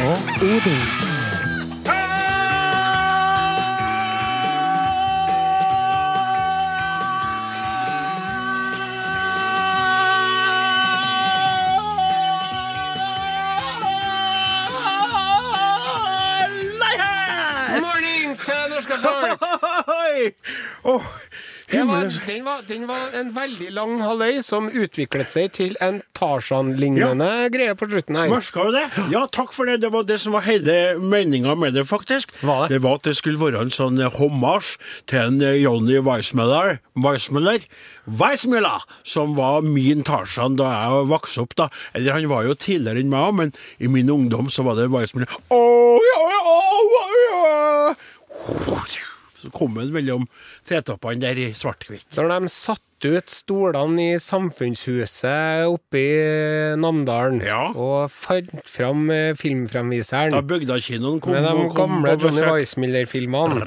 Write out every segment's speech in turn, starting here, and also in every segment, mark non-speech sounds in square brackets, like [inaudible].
og Odin. Nei, her! Mornings til norske folk! [laughs] Oi! Åh, Det var, himmelen. den, var, den var en veldig lang halvøy som utviklet seg til en Tarzan-lignende greie på slutten her. Merka du det? Ja, takk for det. Det var det som var hele meninga med det, faktisk. Var det? var at det skulle være en sånn eh, hommage til en eh, Johnny Weissmuller, Weissmuller, Weissmuller, som var min Tarzan da jeg vokste opp, da. Eller han var jo tidligere enn meg, men i min ungdom så var det Weissmuller. Åh, ja, ja, åh, ja. Så kom han mellom tretoppene der i svart-hvitt. Når de satte ut stolene i samfunnshuset oppe i Namdalen Ja. og fant fram eh, filmfremviseren Da bygdakinoen kom med de og kom gamle på Johnny besøk. Weissmiller-filmene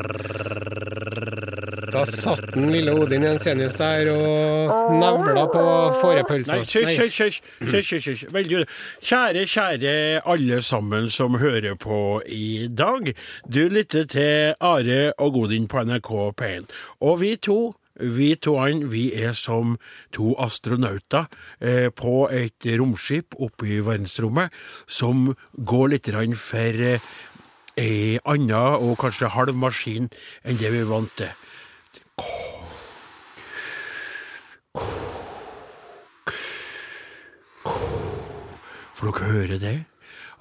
Da satt den lille Odin Jensenius der og nevla på fårepølsa. Nei, hysj, hysj, hysj, hysj, hysj, hysj. Veldig godt. Kjære, kjære alle sammen som hører på i dag. Du lytter til Are og Godin på NRK P1. Og vi to, vi to han, vi er som to astronauter eh, på et romskip oppe i verdensrommet som går litt grann for eh, ei anna og kanskje halv maskin enn det vi er vant til. For dere hører det,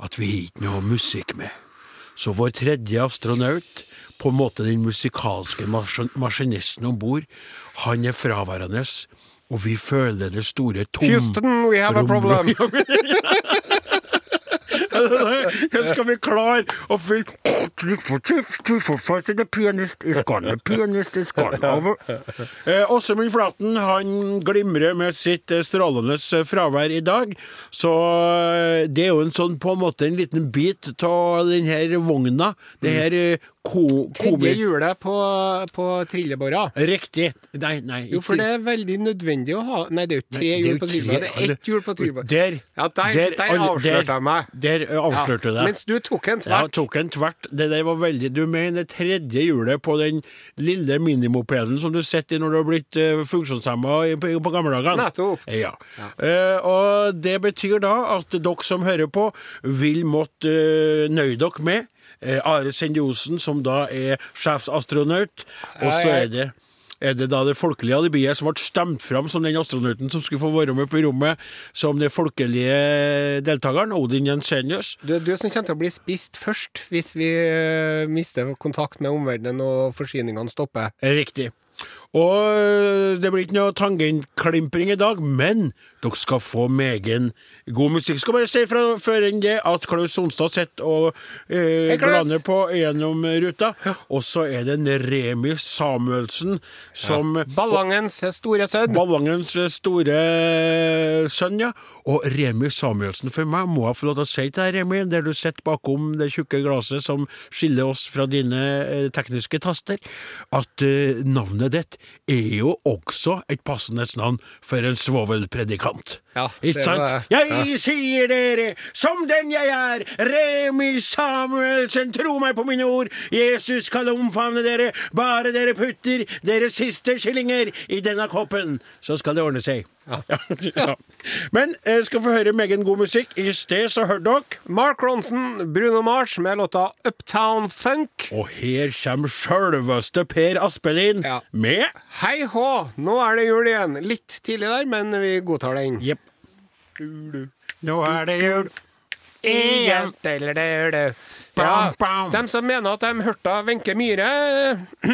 at vi har ikke noe musikk med. Så vår tredje astronaut, på en måte den musikalske maskin- maskinisten om bord, han er fraværende, og vi føler det store tom... Houston, we have a [laughs] problem! Her skal vi klare å fylle The pianist is gone, the pianist is gone. Over. Eh, Åsemund Flaten han glimrer med sitt eh, strålende eh, fravær i dag. Så eh, det er jo en sånn på en måte en liten bit av den her vogna. Det Mm. her eh, ko, Tredje komi... hjulet på, på trillebåra. Riktig. Nei, nei. Jo, for ikke- det er veldig nødvendig å ha Nei, det er jo tre Nei, det er jo hjul tre- på trillebåra. Det er ett hjul på trillebåra. Der, ja, der, der, der, all- der- avslørte jeg meg. Der eh, avslørte du Ja, deg. Mens du tok en Ja, tvert. tok en tvert. Det der var veldig Du mener tredje hjulet på den lille minimopeden som du sitter i når du har blitt uh, funksjonshemma i- på, på gamle dager? Nettopp. Ja. Eh, og det betyr da at dere som hører på, vil måtte eh, nøye dere med eh, Are Sendiosen, som da er sjefsastronaut, og så Hei, hei. er det er det da det folkelige alibiet som ble stemt fram som den astronauten som skulle få være med på rommet som den folkelige deltakeren, Odin Jensenius? Du er du som kommer til å bli spist først hvis vi eh, mister kontakt med omverdenen og forsyningene stopper. Riktig. Og øh, det blir ikke noe tangentklimpring i dag, men dere skal få megen god musikk. Skal bare si fra før enn det at Klaus Sonstad sitter og øh, Klaus! glaner på gjennom ruta. Og så er det en Remi Samuelsen som Ballangens store sønn. Ballangens store eh, sønn, ja. Og Remi Samuelsen for meg, må jeg få lov til å si til deg, Remi, der du sitter bakom det tjukke glasset som skiller oss fra dine eh, tekniske taster, at eh, navnet ditt er jo også et passende navn for en svovelpredikant. Ja, Ikke det sant? var- Jeg sier dere, som den jeg er, Remi Samuelsen, tro meg på mine ord, Jesus skal omfavne dere, bare dere putter deres siste skillinger i denne koppen, så skal det ordne seg. Ja. [laughs] ja. Men jeg skal få høre meget god musikk. I sted så hørte dere Mark Ronson, Bruno Mars med låta Uptown Funk. Og her kommer sjølveste Per Aspelin Ja. med Hei hå, nå er det jul igjen. Litt tidlig der, men vi godtar den. Jepp. Nå er det jul. Igjen. Bam, Ja, bam. de som mener at de hørte Wenche Myhre [clears throat]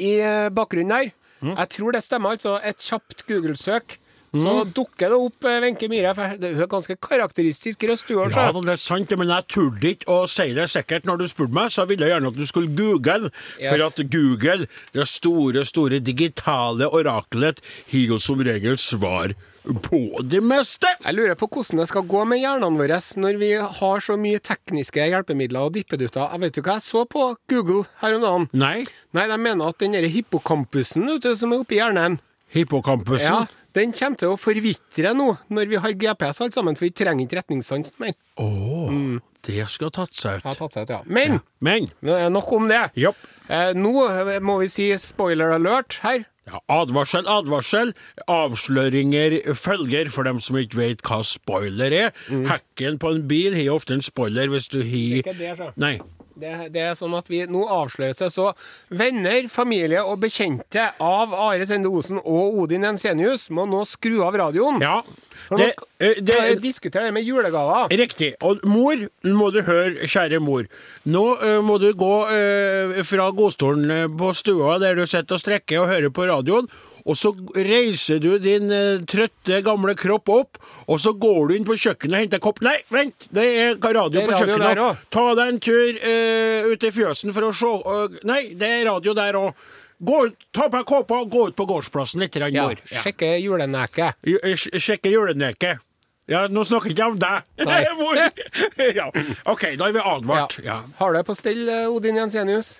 i eh, bakgrunnen der, Mm. jeg tror det stemmer, altså. Et kjapt Google-søk. Så Mm. dukker det opp eh, Wenche Myhre. for Det er jo ganske karakteristisk røst. du har, Ja, så. da, det er sant, men jeg turde ikke å si det sikkert når du spurte meg, så jeg ville gjerne at du skulle google, for Yes. at Google, det store, store digitale orakelet, har jo som regel svar på det meste. Jeg lurer på hvordan det skal gå med hjernene våre når vi har så mye tekniske hjelpemidler og dippedutter. Jeg vet jo hva jeg så på Google her om dagen. Nei, Nei, de mener at den derre hippocampusen vet du, som er oppi hjernen hippocampusen. ja, Den kommer til å forvitre nå, når vi har GPS alt sammen, for vi trenger ikke retningssans mer. Å, det skal tatt seg Har ut. tatt seg ut, ja. Men Men eh, nok om det. Jopp. Eh, nå eh, må vi si spoiler alert her. ja, advarsel, advarsel. Avsløringer følger for dem som ikke vet hva spoiler er. Hekken på en bil har jo ofte en spoiler hvis du har Mm. Det er ikke det, så. Nei. Det, det er sånn at vi nå avsløres det så venner, familie og bekjente av Are Sende Osen og Odin Ensenius må nå skru av radioen. Ja. For nå Det, skal- eh, det, skal vi diskutere det med julegaver. Riktig. Og mor, nå må du høre, kjære mor. Nå eh, må du gå eh, fra godstolen eh, på stua der du sitter og strekker og hører på radioen, og så reiser du din eh, trøtte, gamle kropp opp, og så går du inn på kjøkkenet og henter kopp Nei, vent! Det er hva radio Det er på radio kjøkkenet. der også. Ta deg en tur eh, ut i fjøsen for å se eh, Nei, det er radio der òg. Ta på deg kåpa og gå ut på gårdsplassen litt, grann, Ja, mor. Ja. sjekke juleneket. Ju- eh, sj- Sjekke juleneket. Ja, nå snakker [laughs] jeg ikke om deg. Nei. Hvor? ja. OK, da er vi advart. Ja. Har du det på stell, eh, Odin Jensenius?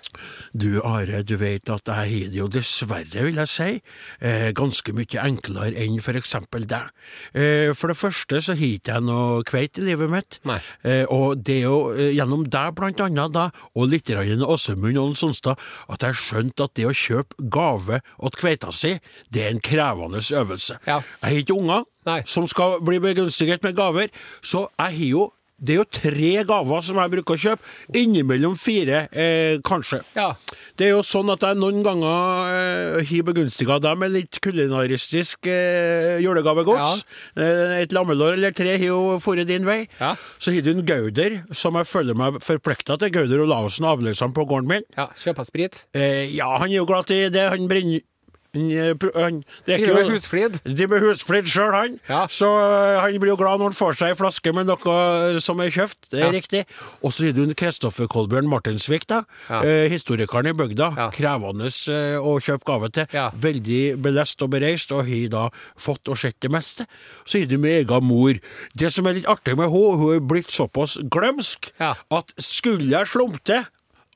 Du Are, du vet at jeg har det jo dessverre, vil jeg si, eh, ganske mye enklere enn for eksempel deg. Eh, for det første så har ikke jeg noe kveit i livet mitt, Nei. eh, og det er jo eh, gjennom deg blant annet da, og litt grann Åsemund og Sonstad, at jeg skjønte at det å kjøpe gave åt kveita si, det er en krevende øvelse. Ja. Jeg har ikke unger Nei. som skal bli begunstiget med gaver, så jeg har jo det er jo tre gaver som jeg bruker å kjøpe, innimellom fire, eh, kanskje. Ja. Det er jo sånn at jeg noen ganger eh, har begunstiga deg med litt kulinaristisk eh, julegavegods. Eh, et lammelår eller tre har jo foret din vei. Ja. Så har du en Gauder, som jeg føler meg forplikta til. Gauder Olavsen, avløseren på gården min. Ja, Kjøpe sprit? Eh, ja, han er jo glad i det. Han brenner han, eh, pr- han drikker Driver med jo- husflid. Driver med husflid sjøl, han. Ja. Så eh, han blir jo glad når han får seg ei flaske med noe som er kjøpt. Det er Ja. riktig. Og så er det jo en Kristoffer Kolbjørn Martinsvik, da. Ja. Eh, historikeren i bygda. Ja. Krevende eh, å kjøpe gave til. Ja. Veldig belest og bereist, og har da fått og sett det meste. Så er det med egen mor. Det som er litt artig med henne, hun er blitt såpass glømsk Ja. at skulle jeg slumpe til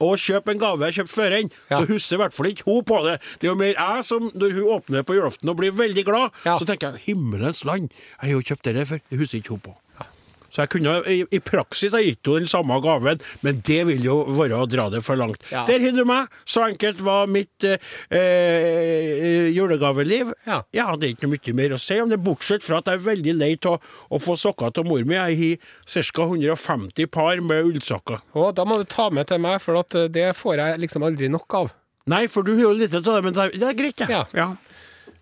og kjøpe en gave jeg kjøpte før enn, Ja. så husker i hvert fall ikke hun på det. Det er jo mer jeg som, når hun åpner på julaften og blir veldig glad, Ja. så tenker jeg himmelens land, jeg har jo kjøpt det der før, det husker ikke hun på. Så jeg kunne, i, i praksis har jeg gitt henne den samme gaven, men det vil jo være å dra det for langt. Ja. Der har du meg! Så enkelt var mitt eh, eh, julegaveliv. Ja. det er ikke noe mye mer å si om det, bortsett fra at jeg er veldig lei av å få sokker til mor mi. Jeg har ca. 150 par med ullsokker. Å, da må du ta med til meg, for at eh, det får jeg liksom aldri nok av. Nei, for du har jo lite av det, men det er- det er greit, ja. Ja.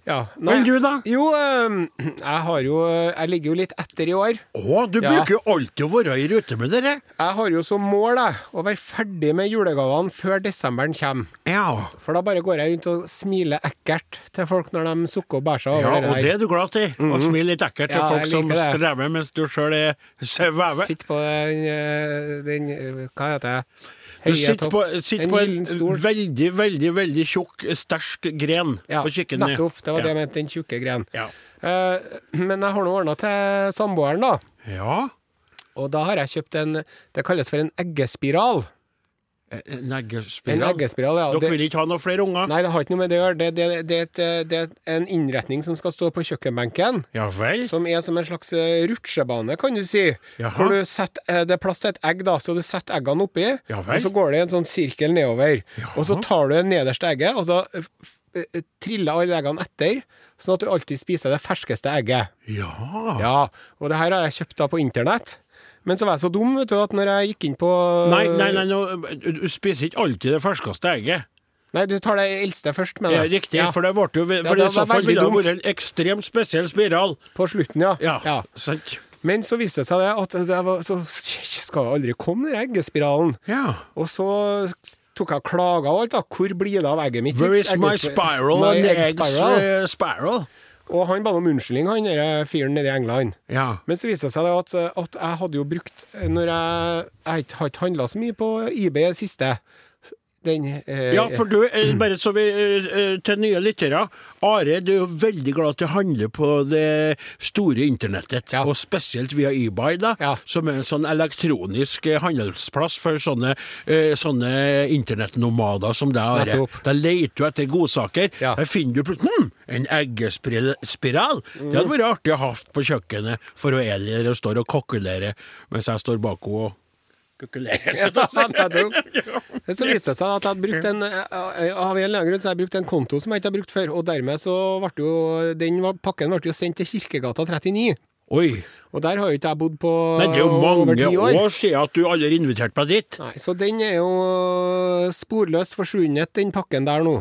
Ja, Men du da? Jo, eh, jeg har jo eh, Jeg ligger jo litt etter i år. Å, du Ja. bruker jo alltid å være i rute med dere. Jeg har jo som mål jeg, å være ferdig med julegavene før desemberen kommer. Ja. For da bare går jeg rundt og smiler ekkelt til folk når de sukker og bærer seg over Ja, det og det her. er du glad til. Å smile litt ekkelt til Mhm. Ja, folk jeg som liker det. strever mens du sjøl er svever. Sitter på den, eh, den eh, Hva heter det? Du Høye sitter topp. på, sitter en på en gyllen stol. veldig, veldig veldig tjukk, sterk gren Ja, og kikker ned. nettopp. Det var det ja. jeg mente, den tjukke greien. Ja. Eh, men jeg har nå ordna til samboeren, da. ja. Og da har jeg kjøpt en Det kalles for en eggespiral. En Eh, En eggespiral. eggespiral, ja. Dere Det, vil ikke ha noen flere unger? nei, det har ikke noe med det å gjøre. Det, det, det, er et, eh, det er en innretning som skal stå på kjøkkenbenken. Ja vel? Som er som en slags eh, rutsjebane, kan du si. Jaha. Hvor du setter, eh, det er plass til et egg, da, så du setter eggene oppi, Ja vel. og så går det i en sånn sirkel nedover. Og så tar du det nederste egget, og så eh, f- eh, triller alle eggene etter, sånn at du alltid spiser det ferskeste egget. Ja. Ja, og det her har jeg kjøpt da på internett. Men så var jeg så dum, vet du, at når jeg gikk inn på Nei, nei, nei, nå- du du spiser ikke alltid det ferskeste egget. Nei, du tar det eldste først, Ja, mener jeg. riktig, Ja, for det ble jo for det i så var fall veldig ville det dumt. vært en ekstremt spesiell spiral. På slutten, ja. Ja, Ja. sant. Men så viste det seg det at det var, så skal det aldri komme, den eggespiralen. Ja. Og så tok jeg klager og alt, da. Hvor blir det av egget mitt? Where is my Eggespi- spiral My and the egg eggs spiral. uh, spiral? Og han ba om unnskyldning, han der fyren nede i England. Ja. Men så viste det seg det at, at jeg hadde jo brukt Når jeg, jeg har ikke handla så mye på eBay i det siste den eh, Ja, for du, eh, bare så vi eh, eh, til nye lyttere. Are, du er jo veldig glad til å handle på det store internettet, Ja. og spesielt via eBay, da, Ja. som er en sånn elektronisk eh, handelsplass for sånne, eh, sånne internettnomader som deg, Are. Nettopp. Da leter du etter godsaker. Ja. Der finner du plutselig hm, en eggespiral. spiral. Det hadde vært artig å ha hatt på kjøkkenet for å Eli der og står og kokkelere mens jeg står bak henne og kukulerer. Ja, [laughs] [laughs] nettopp. Men Så viste det seg at jeg hadde brukt en eh, av en eller annen grunn så hadde jeg brukt en konto som jeg ikke har brukt før, og dermed så ble jo den var- pakken ble jo sendt til Kirkegata 39. Oi. Og der har jo ikke jeg bodd på Nei, det er jo over mange ti år. siden at du aldri inviterte meg dit. Nei, så den er jo sporløst forsvunnet, den pakken der nå.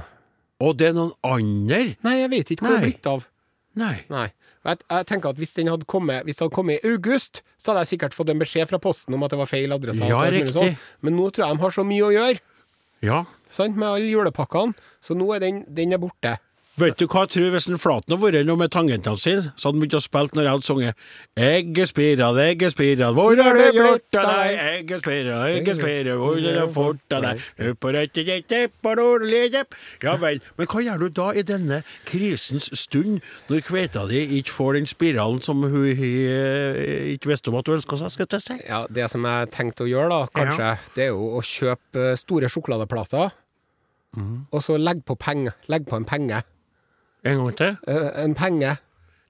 Og det er noen andre? Nei, jeg vet ikke hvor den Nei. er blitt av. Nei. Nei. Og Jeg, jeg tenker at hvis den hadde kommet Hvis den hadde kommet i august, så hadde jeg sikkert fått en beskjed fra Posten om at det var feil adresse. Ja, og alt mulig riktig. sånn. Men nå tror jeg de har så mye å gjøre Ja. sant, med alle julepakkene, så nå er den, den er borte. Vet du hva jeg tror hvis en Flaten hadde vært noe med tangentene sine, så hadde han begynt å spille når jeg hadde sunget Eggespiral, eggespiral, hvor har du gjort av deg? Eggespiral, eggespiral, hvor har du fort av deg? Ut på rødt i ditt, ut på nordlig ditt. Ja vel. Men hva gjør du da i denne krisens stund, når kveita di ikke får den spiralen som hun eh, ikke visste om at hun ønska seg, skal jeg til å si? Ja, Det som jeg tenkte å gjøre, da, kanskje, det er jo å kjøpe eh, store sjokoladeplater, Mhm. og så legge på, penger- legge på en penge. En gang til. Eh, En penge.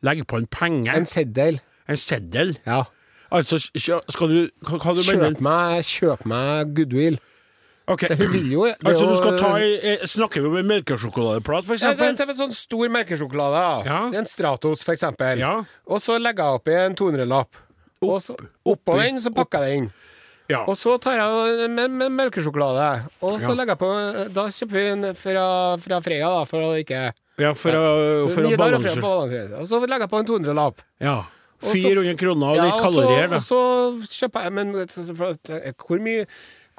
Legg på en penge. En seddel. En seddel? Ja. Altså, s- s- skal du Hva, hva du mener Kjøp meg, kjøp meg goodwill. Ok. Det hun vil jo det [clears throat] Altså, er du jo- skal ta i eh, Snakker vi om en melkesjokoladeplate, for Ja, eksempel? det er en sånn stor melkesjokolade. da. Ja. En Stratos, for eksempel. Ja. Og så legger jeg oppi en 200-lapp. Og så Oppå den, så pakker jeg den. Ja. Og så tar jeg med, med melkesjokolade. Og så Ja. legger jeg på Da kjøper vi en fra, fra Freia, da, for å ikke ja for, å, for å Nidar og balansere. Freia balansere. Og så legger jeg på en 200-lapp. Ja. Og så- 400 kroner og Ja, litt kalorier, og da. så, og så kjøper jeg Men for at- eh, hvor mye,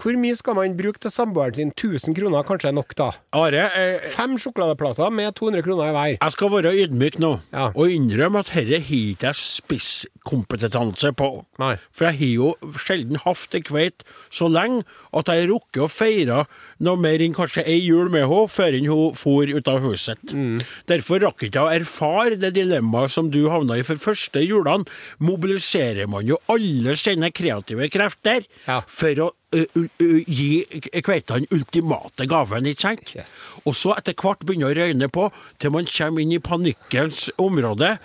hvor mye skal man bruke til samboeren sin? 1000 kroner kanskje er nok, da. Are, eh, Fem sjokoladeplater med 200 kroner i hver. jeg skal være ydmyk nå Ja. og innrømme at herre har ikke jeg spisskompetanse på. Nei. For jeg har jo sjelden hatt ei kveit så lenge at jeg rukker å feire noe mer enn kanskje ei jul med henne før enn hun for ut av huset. Mm. Derfor rakk ikke jeg å erfare det dilemmaet som du havna i for første julene. Mobiliserer man jo alle sine kreative krefter Ja. for å ø, ø, ø, gi kveitene ultimate gaven, ikke sant? Yes. Og så etter hvert begynner å røyne på, til man kommer inn i panikkens område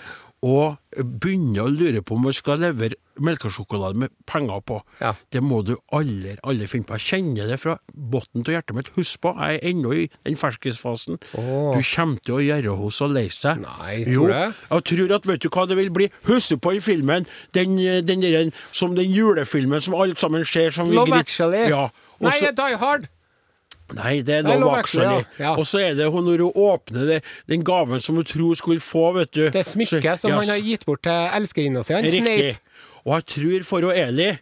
og begynner å lure på om man skal levere melkesjokolade med penger på. Ja. Det må du aldri, aldri finne på. Jeg kjenner det fra bunnen av hjertet mitt. Husk på, jeg er ennå i den ferskisfasen. Åh. Du kommer til å gjøre henne så lei seg. Nei, Jo, tror jeg. jeg tror at, vet du hva det vil bli? Husk på i filmen, den, den, derre- som den julefilmen som alt sammen skjer som vi Love gri- Actually. Ja. og Nei, så- jeg er Die Hard. Nei, det er Nei, Love, Love Actually. Actually, ja. Ja. Og så er det hun når hun åpner det, den gaven som hun tror skulle få, vet du. Det smykket som Ja, han har gitt bort til elskerinna si, han Riktig. Snape. Og jeg tror for hun Eli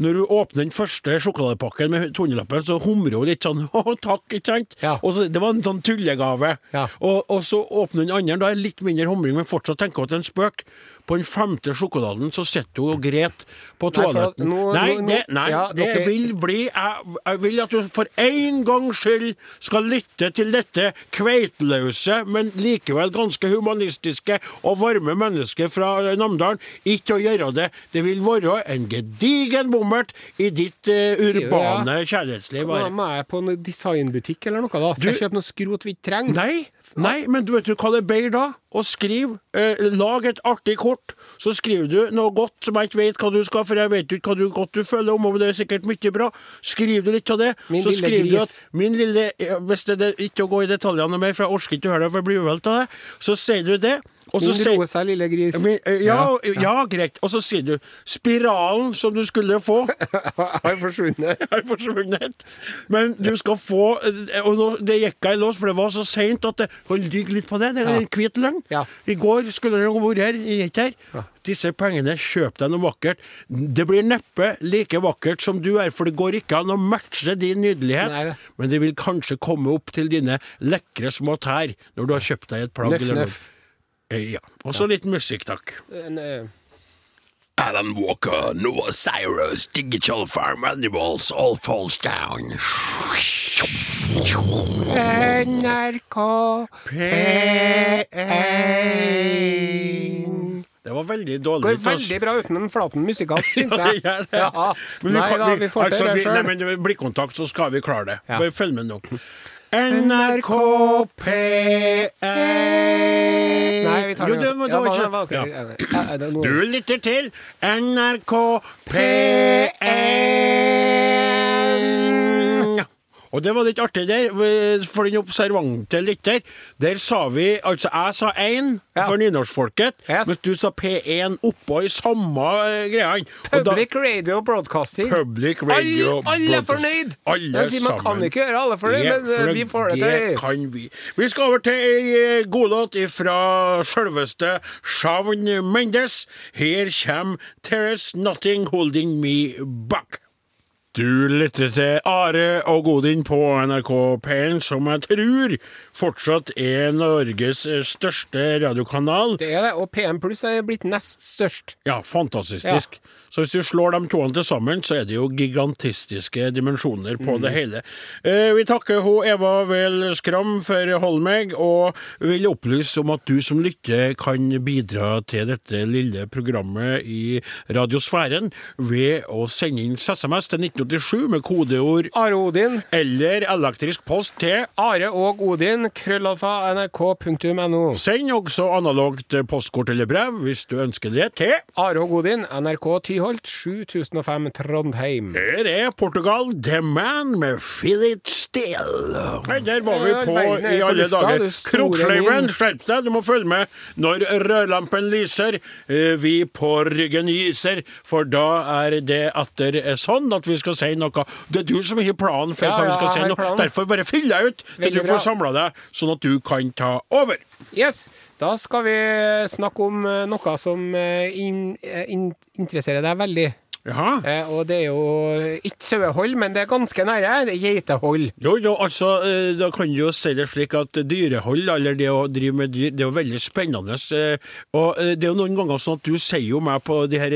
når hun åpner den første sjokoladepakken med 200-lappen, så humrer hun litt sånn [laughs] 'Å, takk', ikke sant? Ja. Og så, det var en sånn tullegave. Ja. Og, og så åpner den andre, da er det litt mindre humring, men fortsatt tenker hun at det er en spøk. På den femte sjokoladen så sitter hun og gret på Nei, for toaletten. nå- Nei, nå- nå- det, nei, ja, det dere- vil bli jeg, jeg vil at du for én gangs skyld skal lytte til dette kveitløse, men likevel ganske humanistiske og varme mennesket fra eh, Namdalen. Ikke å gjøre det. Det vil være en gedigen bommert i ditt eh, du det, urbane kjærlighetsliv. Da Are. må jeg på noen designbutikk eller noe, da. Skal jeg kjøpe noe skrot vi ikke trenger? Nei, nei, men du vet jo hva det er bedre da? Å skrive, eh, lag et artig kort, så skriver du noe godt som jeg ikke vet hva du skal, for jeg vet jo ikke hva du godt du føler om, og det er sikkert mye bra. Skriv du litt av det, Min så lille skriver du gris. at min lille, ja, hvis det er ikke å gå i detaljene mer, for jeg orsker ikke å høre det, for jeg blir uvelt av det, så sier du det, og så Min sier... roe seg, lille gris. Men, eh, ja, ja. greit. Og så sier du 'spiralen som du skulle få'. [laughs] Har forsvunnet. [laughs] er forsvunnet. Men du skal få eh, Og nå, det gikk jeg i lås, for det var så seint at det kan ligge litt på det. Det er en hvit løgn. Ja. I går skulle jeg vært her, jeg er ikke her. Disse pengene, kjøp deg noe vakkert. Det blir neppe like vakkert som du er, for det går ikke an å matche din nydelighet. Nei, det- Men det vil kanskje komme opp til dine lekre små tær når du har kjøpt deg et plagg Nøff, eller noe. nøff. Eh, Ja. Og så litt musikk, takk. En, eh, Alan Walker, Noah Cyrus, Digital Farm Animals, All Falls Down. NRK P1 Det var veldig dårlig. Går til oss. veldig bra uten en flaten musikalsk, syns [laughs] Ja, det jeg. gjør det. Ja. Men vi Nei kan- da, vi får altså, til det vi- Nei, sjøl. men med blikkontakt så skal vi klare det. Ja. Bare følg med nå. NRK P1 Nei, vi tar Jo, det. det må- det Ja, var bare- ikke- bare- Ja. ja, ja, ja, det er noe- Du lytter til NRK P1. Og det var litt artig der, for den observante lytter. Der sa vi Altså, jeg sa én Ja. for nynorskfolket, Yes. mens du sa P1 oppå i samme eh, greiene. Og da- Public Radio Broadcasting. Public Radio alle, alle er Broadcast. fornøyd! Alle jeg sier, man sammen. kan ikke gjøre alle fornøyd, Ja, men eh, for vi får det det til. kan vi. Vi skal over til ei eh, godlåt fra sjølveste Shawn Mendes. Her kommer 'There's Nothing Holding Me Back'. Du lytter til Are og Godin på NRK P1, som jeg tror fortsatt er Norges største radiokanal. Det er det, og PM Pluss er blitt nest størst. Ja, fantastisk. Så hvis du slår de to til sammen, så er det jo gigantistiske dimensjoner på det hele. Eh, vi takker ho Eva Vel Skram for Holmeg, og vil opplyse om at du som lytter kan bidra til dette lille programmet i radiosfæren ved å sende inn SMS til 1987 med kodeord Are Odin, eller elektrisk post til Are og Odin, krøllalfa nrk.no. Send også analogt postkort eller brev hvis du ønsker det, til Are og Odin, NRK Tyholt, 7005 Trondheim. Her er Portugal, The Man med Feel It Still. Nei, der var vi Ja, på Øh, verden er i på alle lufta, dager. du store Kroksleiven, min. skjerp deg, du må følge med når rødlampen lyser. eh, Vi på ryggen gyser, for da er det atter eh, sånn at vi skal si noe. Det er du som har planen for Ja, hva vi ja, skal si jeg nå. har planen. Derfor bare fyll deg ut til du Veldig får bra. samla deg, sånn at du kan ta over. Yes, da skal vi snakke om eh, noe som eh, in, eh, in, interesserer deg veldig. Jaha. Eh, og det er jo ikke sauehold, men det er ganske nære. Det er geitehold. Jo, jo, altså, eh, da kan du jo si det slik at dyrehold, eller det å drive med dyr, det er jo veldig spennende. eh, Og eh, det er jo noen ganger sånn at du sier jo meg på de her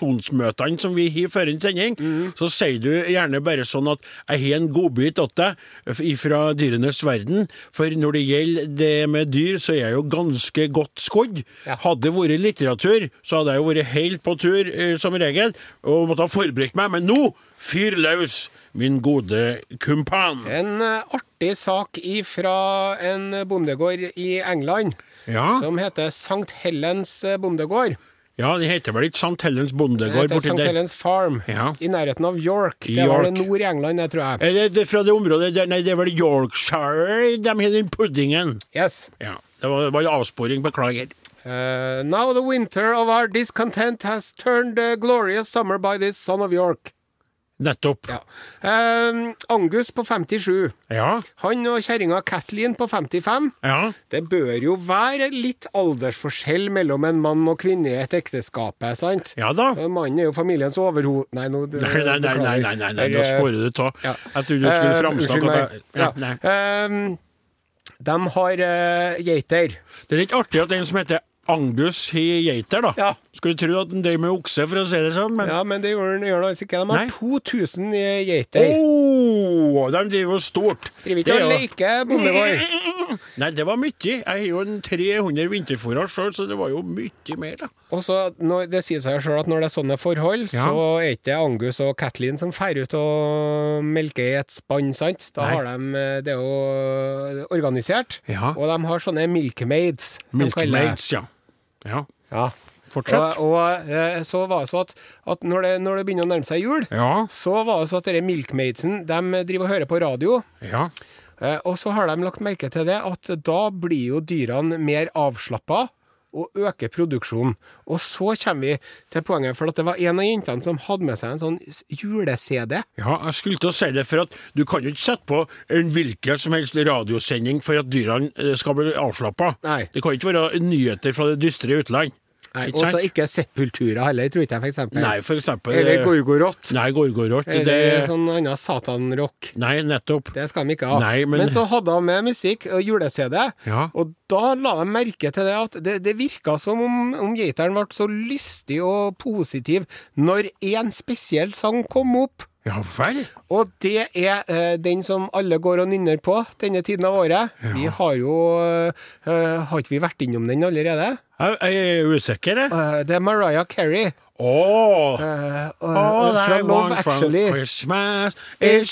redaksjonsmøtene som vi har før en sending, så sier du gjerne bare sånn at jeg har en godbit åt deg fra dyrenes verden, for når det gjelder det med dyr, så er jeg jo ganske godt skodd. Ja. Hadde det vært litteratur, så hadde jeg jo vært helt på tur, eh, som regel, og måtte ha forberedt meg, men nå, fyr løs! Min gode kumpan. En eh, artig sak ifra en bondegård i England Ja. som heter St. Helens eh, bondegård. Ja, det heter vel ikke St. Helens Det bondegård heter borti St. der? Helens Farm Ja. i nærheten av York. Det York. var det nord i England, det tror jeg. Er det- det er fra det området der, nei, det er vel Yorkshire de har den puddingen? Yes. Ja, det var, det var en avsporing, beklager. Eh, now the winter of our discontent has turned the glorious summer by this son of York. Nettopp. Ja. Eh, Angus på 57. Ja. Han og kjerringa Kathleen på 55. Ja. Det bør jo være litt aldersforskjell mellom en mann og kvinne i et ekteskap, sant? Ja da. Mannen er jo familiens overhode... Nei, nå Nei, nei, nei, nei, nei, nei, nei. nå Eller, sporer du av. ja. Jeg trodde du skulle Eh, framsnakke unnskyld at jeg- meg. Ja. Ja, nei. Ehm, de har eh, geiter. Det er litt artig at en som heter Angus har geiter, da. Ja. Skulle tro at han driver med okse, for å si det sånn, men Ja, men det gjør de gjør de altså ikke. De Nei. har 2000 geiter. Åh, de driver jo stort. Det Driver ikke er og jo- leker bondegård. [laughs] Nei, det var mye. Jeg har jo en 300 vinterfôrer sjøl, så det var jo mye mer, da. Og så, når, Det sier seg jo sjøl at når det er sånne forhold, Ja. så er ikke det Angus og Kathleen som drar ut og melker i et spann, sant? Da Nei. har de eh, det er jo organisert. Ja. Og de har sånne milkmaids. som de kaller det. Milkmaids, ja. ja. Ja. Fortsett. Og, og eh, så var det så at, at når, det, når det begynner å nærme seg jul, Ja. så var det så at dere milkmaidsen de driver og hører på radio. Ja. Eh, Og så har de lagt merke til det at da blir jo dyrene mer avslappa og øker produksjonen. Og så kommer vi til poenget, for at det var en av jentene som hadde med seg en sånn s- jule-CD. ja, jeg skulle til å si det, for at du kan jo ikke sette på en hvilken som helst radiosending for at dyrene eh, skal bli avslappa. Nei. Det kan ikke være nyheter fra det dystre utland. Nei, Ikke sant? også ikke sepultura heller, tror ikke jeg, for eksempel. Nei, for eksempel eh, Eller gorgorott. Nei, gorgorott. Eller Det, sånn annen satanrock. nei, nettopp. Det skal de ikke ha. Nei, men- men... så hadde han med musikk og jule-CD, Ja. og da la jeg merke til det at det, det virka som om, om geiteren ble så lystig og positiv når én spesiell sang kom opp. Ja vel. Og det er eh, den som alle går og nynner på denne tiden av året. Vi har jo eh, Har ikke vi vært innom den allerede? Jeg, jeg er usikker, jeg. Eh, det er Mariah Carey. Åh! eh, eh, All fra I Love want from Actually. Christmas is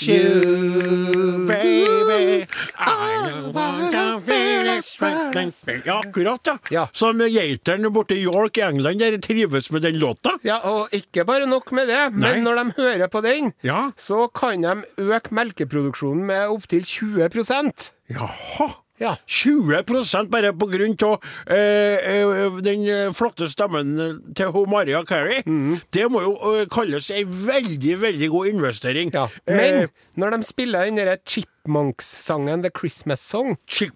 you, baby. I don't want to feel like something. Ja, akkurat, ja. Ja. Som geiteren borte i York i England der trives med den låta. Ja, og ikke bare nok med det, Nei. men når de hører på den, Ja. så kan de øke melkeproduksjonen med opptil 20 Jaha. Ja. 20 bare på grunn av eh, eh, den eh, flotte stemmen til hun Maria Carey. Mm. Det må jo eh, kalles ei veldig, veldig god investering. Ja. Eh, Men når de spiller den derre Chipmunks-sangen The Christmas Song Chipmunks.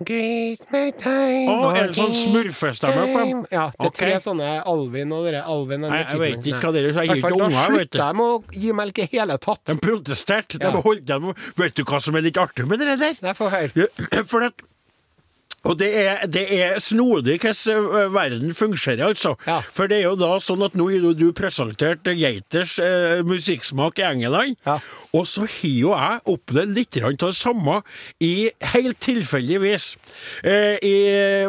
Christmas time Å, er det sånn smurfestemme på dem? Ja, det er tre Ok. sånne Alvin og dere Alvin og Nei, jeg vet Chipmunks, ikke nei. hva det er, så jeg gir Hvertfall, ikke unger, vet du. Da slutter de å gi melk i hele tatt. De protesterte. De Ja. holdt dem. Vet du hva som er litt artig med det der? Nei, få høre. [clears throat] For at og det er, det er snodig hvordan eh, verden fungerer, altså. Ja. For det er jo da sånn at nå har jo du presentert geiters eh, musikksmak i England, Ja. og så har jo jeg opplevd litt grann av det samme i helt tilfeldigvis. Eh, I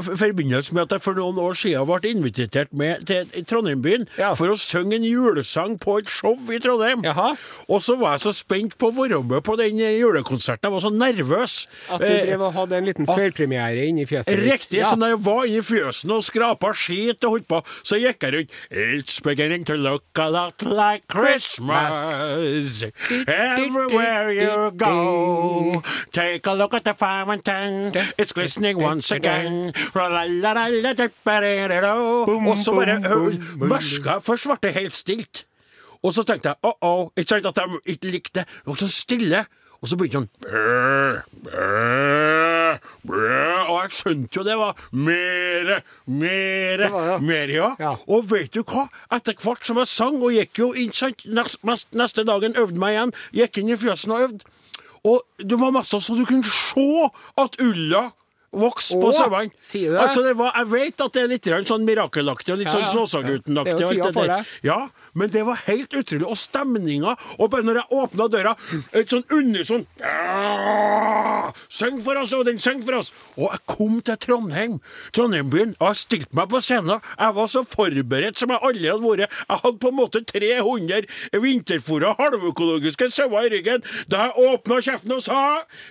f- forbindelse med at jeg for noen år siden ble invitert med til Trondheimbyen Ja. for å synge en julesang på et show i Trondheim. Jaha. Og så var jeg så spent på å være med på den eh, julekonserten, jeg var så nervøs. At du Eh, drev og hadde en liten førpremiere inni fjeset ditt. Riktig. Ja. Så når jeg var inni fjøsen og skrapa skit og holdt på, så gikk jeg rundt It's beginning to look a lot like Christmas. Everywhere you go. Take a look at the farm and town. It's glistening once again. Ra-la-la-la-la-da-ba-da-da-da. Og så bare øh, mørka forsvarte helt stilt. Og så tenkte jeg oh oh, ikke sant at de ikke likte det. Det var så stille. Og så begynte han «Brr, brr, brr», Og jeg skjønte jo det var mere, mere, var det, ja. mere, ja. Ja. Og vet du hva? Etter hvert som jeg sang og gikk jo ikke sant, nest- mest- neste dagen øvde meg igjen, gikk inn i fjøsen og øvde. Og det var masse så du kunne se at ulla vokste på Åh, sommeren. sier du det? Altså, det var, jeg vet at det er litt grann sånn mirakelaktig og litt Ja, sånn ja. Snåsaguten-aktig. Det er jo og alt tida for der. det. Ja, men det var helt utrolig. Og stemninga. Og bare når jeg åpna døra, et sånn unison «Ah! Syng for oss, Odin! Syng for oss! Og jeg kom til Trondheim, Trondheimbyen, og jeg stilte meg på scenen. Jeg var så forberedt som jeg aldri hadde vært. Jeg hadde på en måte 300 vinterfòra halvøkologiske sauer i ryggen da jeg åpna kjeften og sa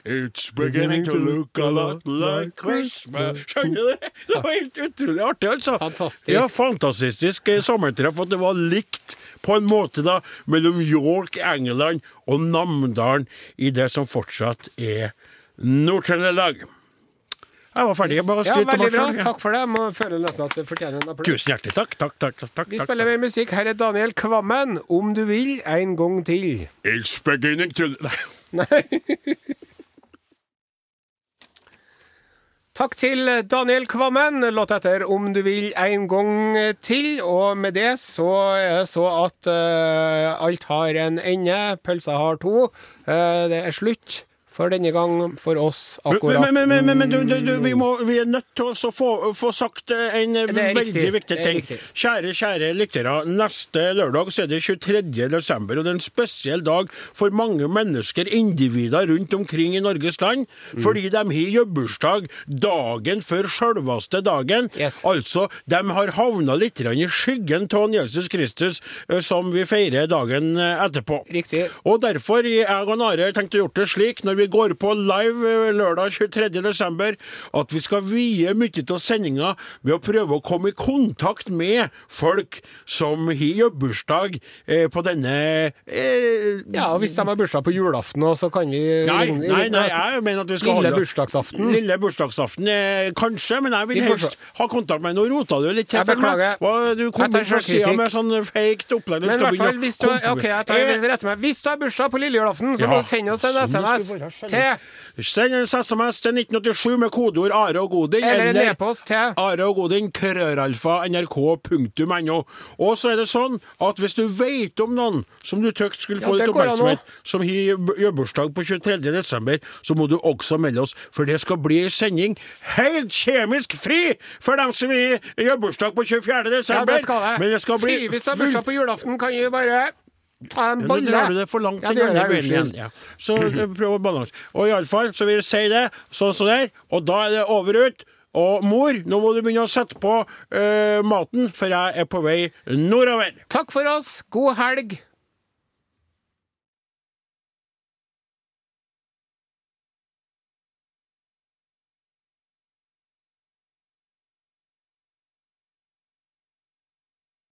It's beginning to look a lot like Christmas. Skjønner du det? Det var helt utrolig artig, altså. Fantastisk. Ja, fantastisk eh, sammentreff at det var likt på en måte da mellom York, England og Namdalen i det som fortsatt er Nord-Trøndelag. Jeg var ferdig med å Ja, skryte av veldig meg bra. selv, ja. Takk for det. Jeg må føle nesten at det fortjener en applaus. Tusen hjertelig takk. Takk, takk, takk. takk, Vi takk. spiller mer musikk. Her er Daniel Kvammen, 'Om du vil en gang til'. [laughs] It's beginning to Nei. Takk til Daniel Kvammen. Låt etter 'Om du vil en gang til'. Og med det så er det så at eh, alt har en ende. Pølsa har to. Eh, det er slutt for denne gang for oss akkurat Mm. Men, men, men, men, men du, du, du, vi, må, vi er nødt til å få, få sagt eh, en eh, Det er veldig riktig. viktig Det er ting. riktig. Kjære, kjære lyttere. Neste lørdag så er det 23. desember, og det er en spesiell dag for mange mennesker, individer rundt omkring i Norges land, Mm. fordi de har jobbursdag dagen før selveste dagen. Yes. Altså, de har havna litt grann i skyggen av Jesus Kristus, eh, som vi feirer dagen eh, etterpå. Riktig. Og derfor jeg og Nare tenkte å gjort det slik når vi går på live eh, lørdag 23. desember, at vi skal vie mye av sendinga ved å prøve å komme i kontakt med folk som har jobbursdag eh, på denne eh, Ja, og hvis de har bursdag på julaften, også, så kan vi Nei, ringe- nei, nei, jeg mener at vi skal Lille holde bursdagsaften. Lille bursdagsaften, eh, kanskje, men jeg vil Vi får helst ha kontakt med Nå rota du litt til Jeg for meg. beklager. Hva- Du kom Jeg tar inn fra selvkritikk. sida med sånn fake opplegg. Du Men i skal hvert begynne å fall, Eh, hvis du, kontra- ok, jeg tar, jeg retter meg. hvis du har bursdag på lille julaften, så Ja, må du sende oss en sånn det SMS skulle være. til Send en SMS til 1987 med kodeord Are og Godin. Eller en e-post til Are og Godin, krøralfa, nrk.no. Og så er det sånn at hvis du vet om noen som du tøkt skulle få Ja, det litt går an oppmerksomhet, som har b- gjør bursdag på 23. desember, så må du også melde oss, for det skal bli en sending helt kjemisk fri for dem som har- gjør bursdag på 24. Ja, desember. det skal det. Men det skal bli Fy, hvis du har fullt bursdag på julaften, kan du bare ta en ja, bolle. Nå drar du det for langt. Ja, den det gjør andre jeg, veien igjen. unnskyld. Ja. Så eh, prøv å balanse. Og iallfall, så vil jeg si det, sånn som det er, og da er det over ut. Og mor, nå må du begynne å sette på eh, maten, for jeg er på vei nordover. Takk for oss. God helg.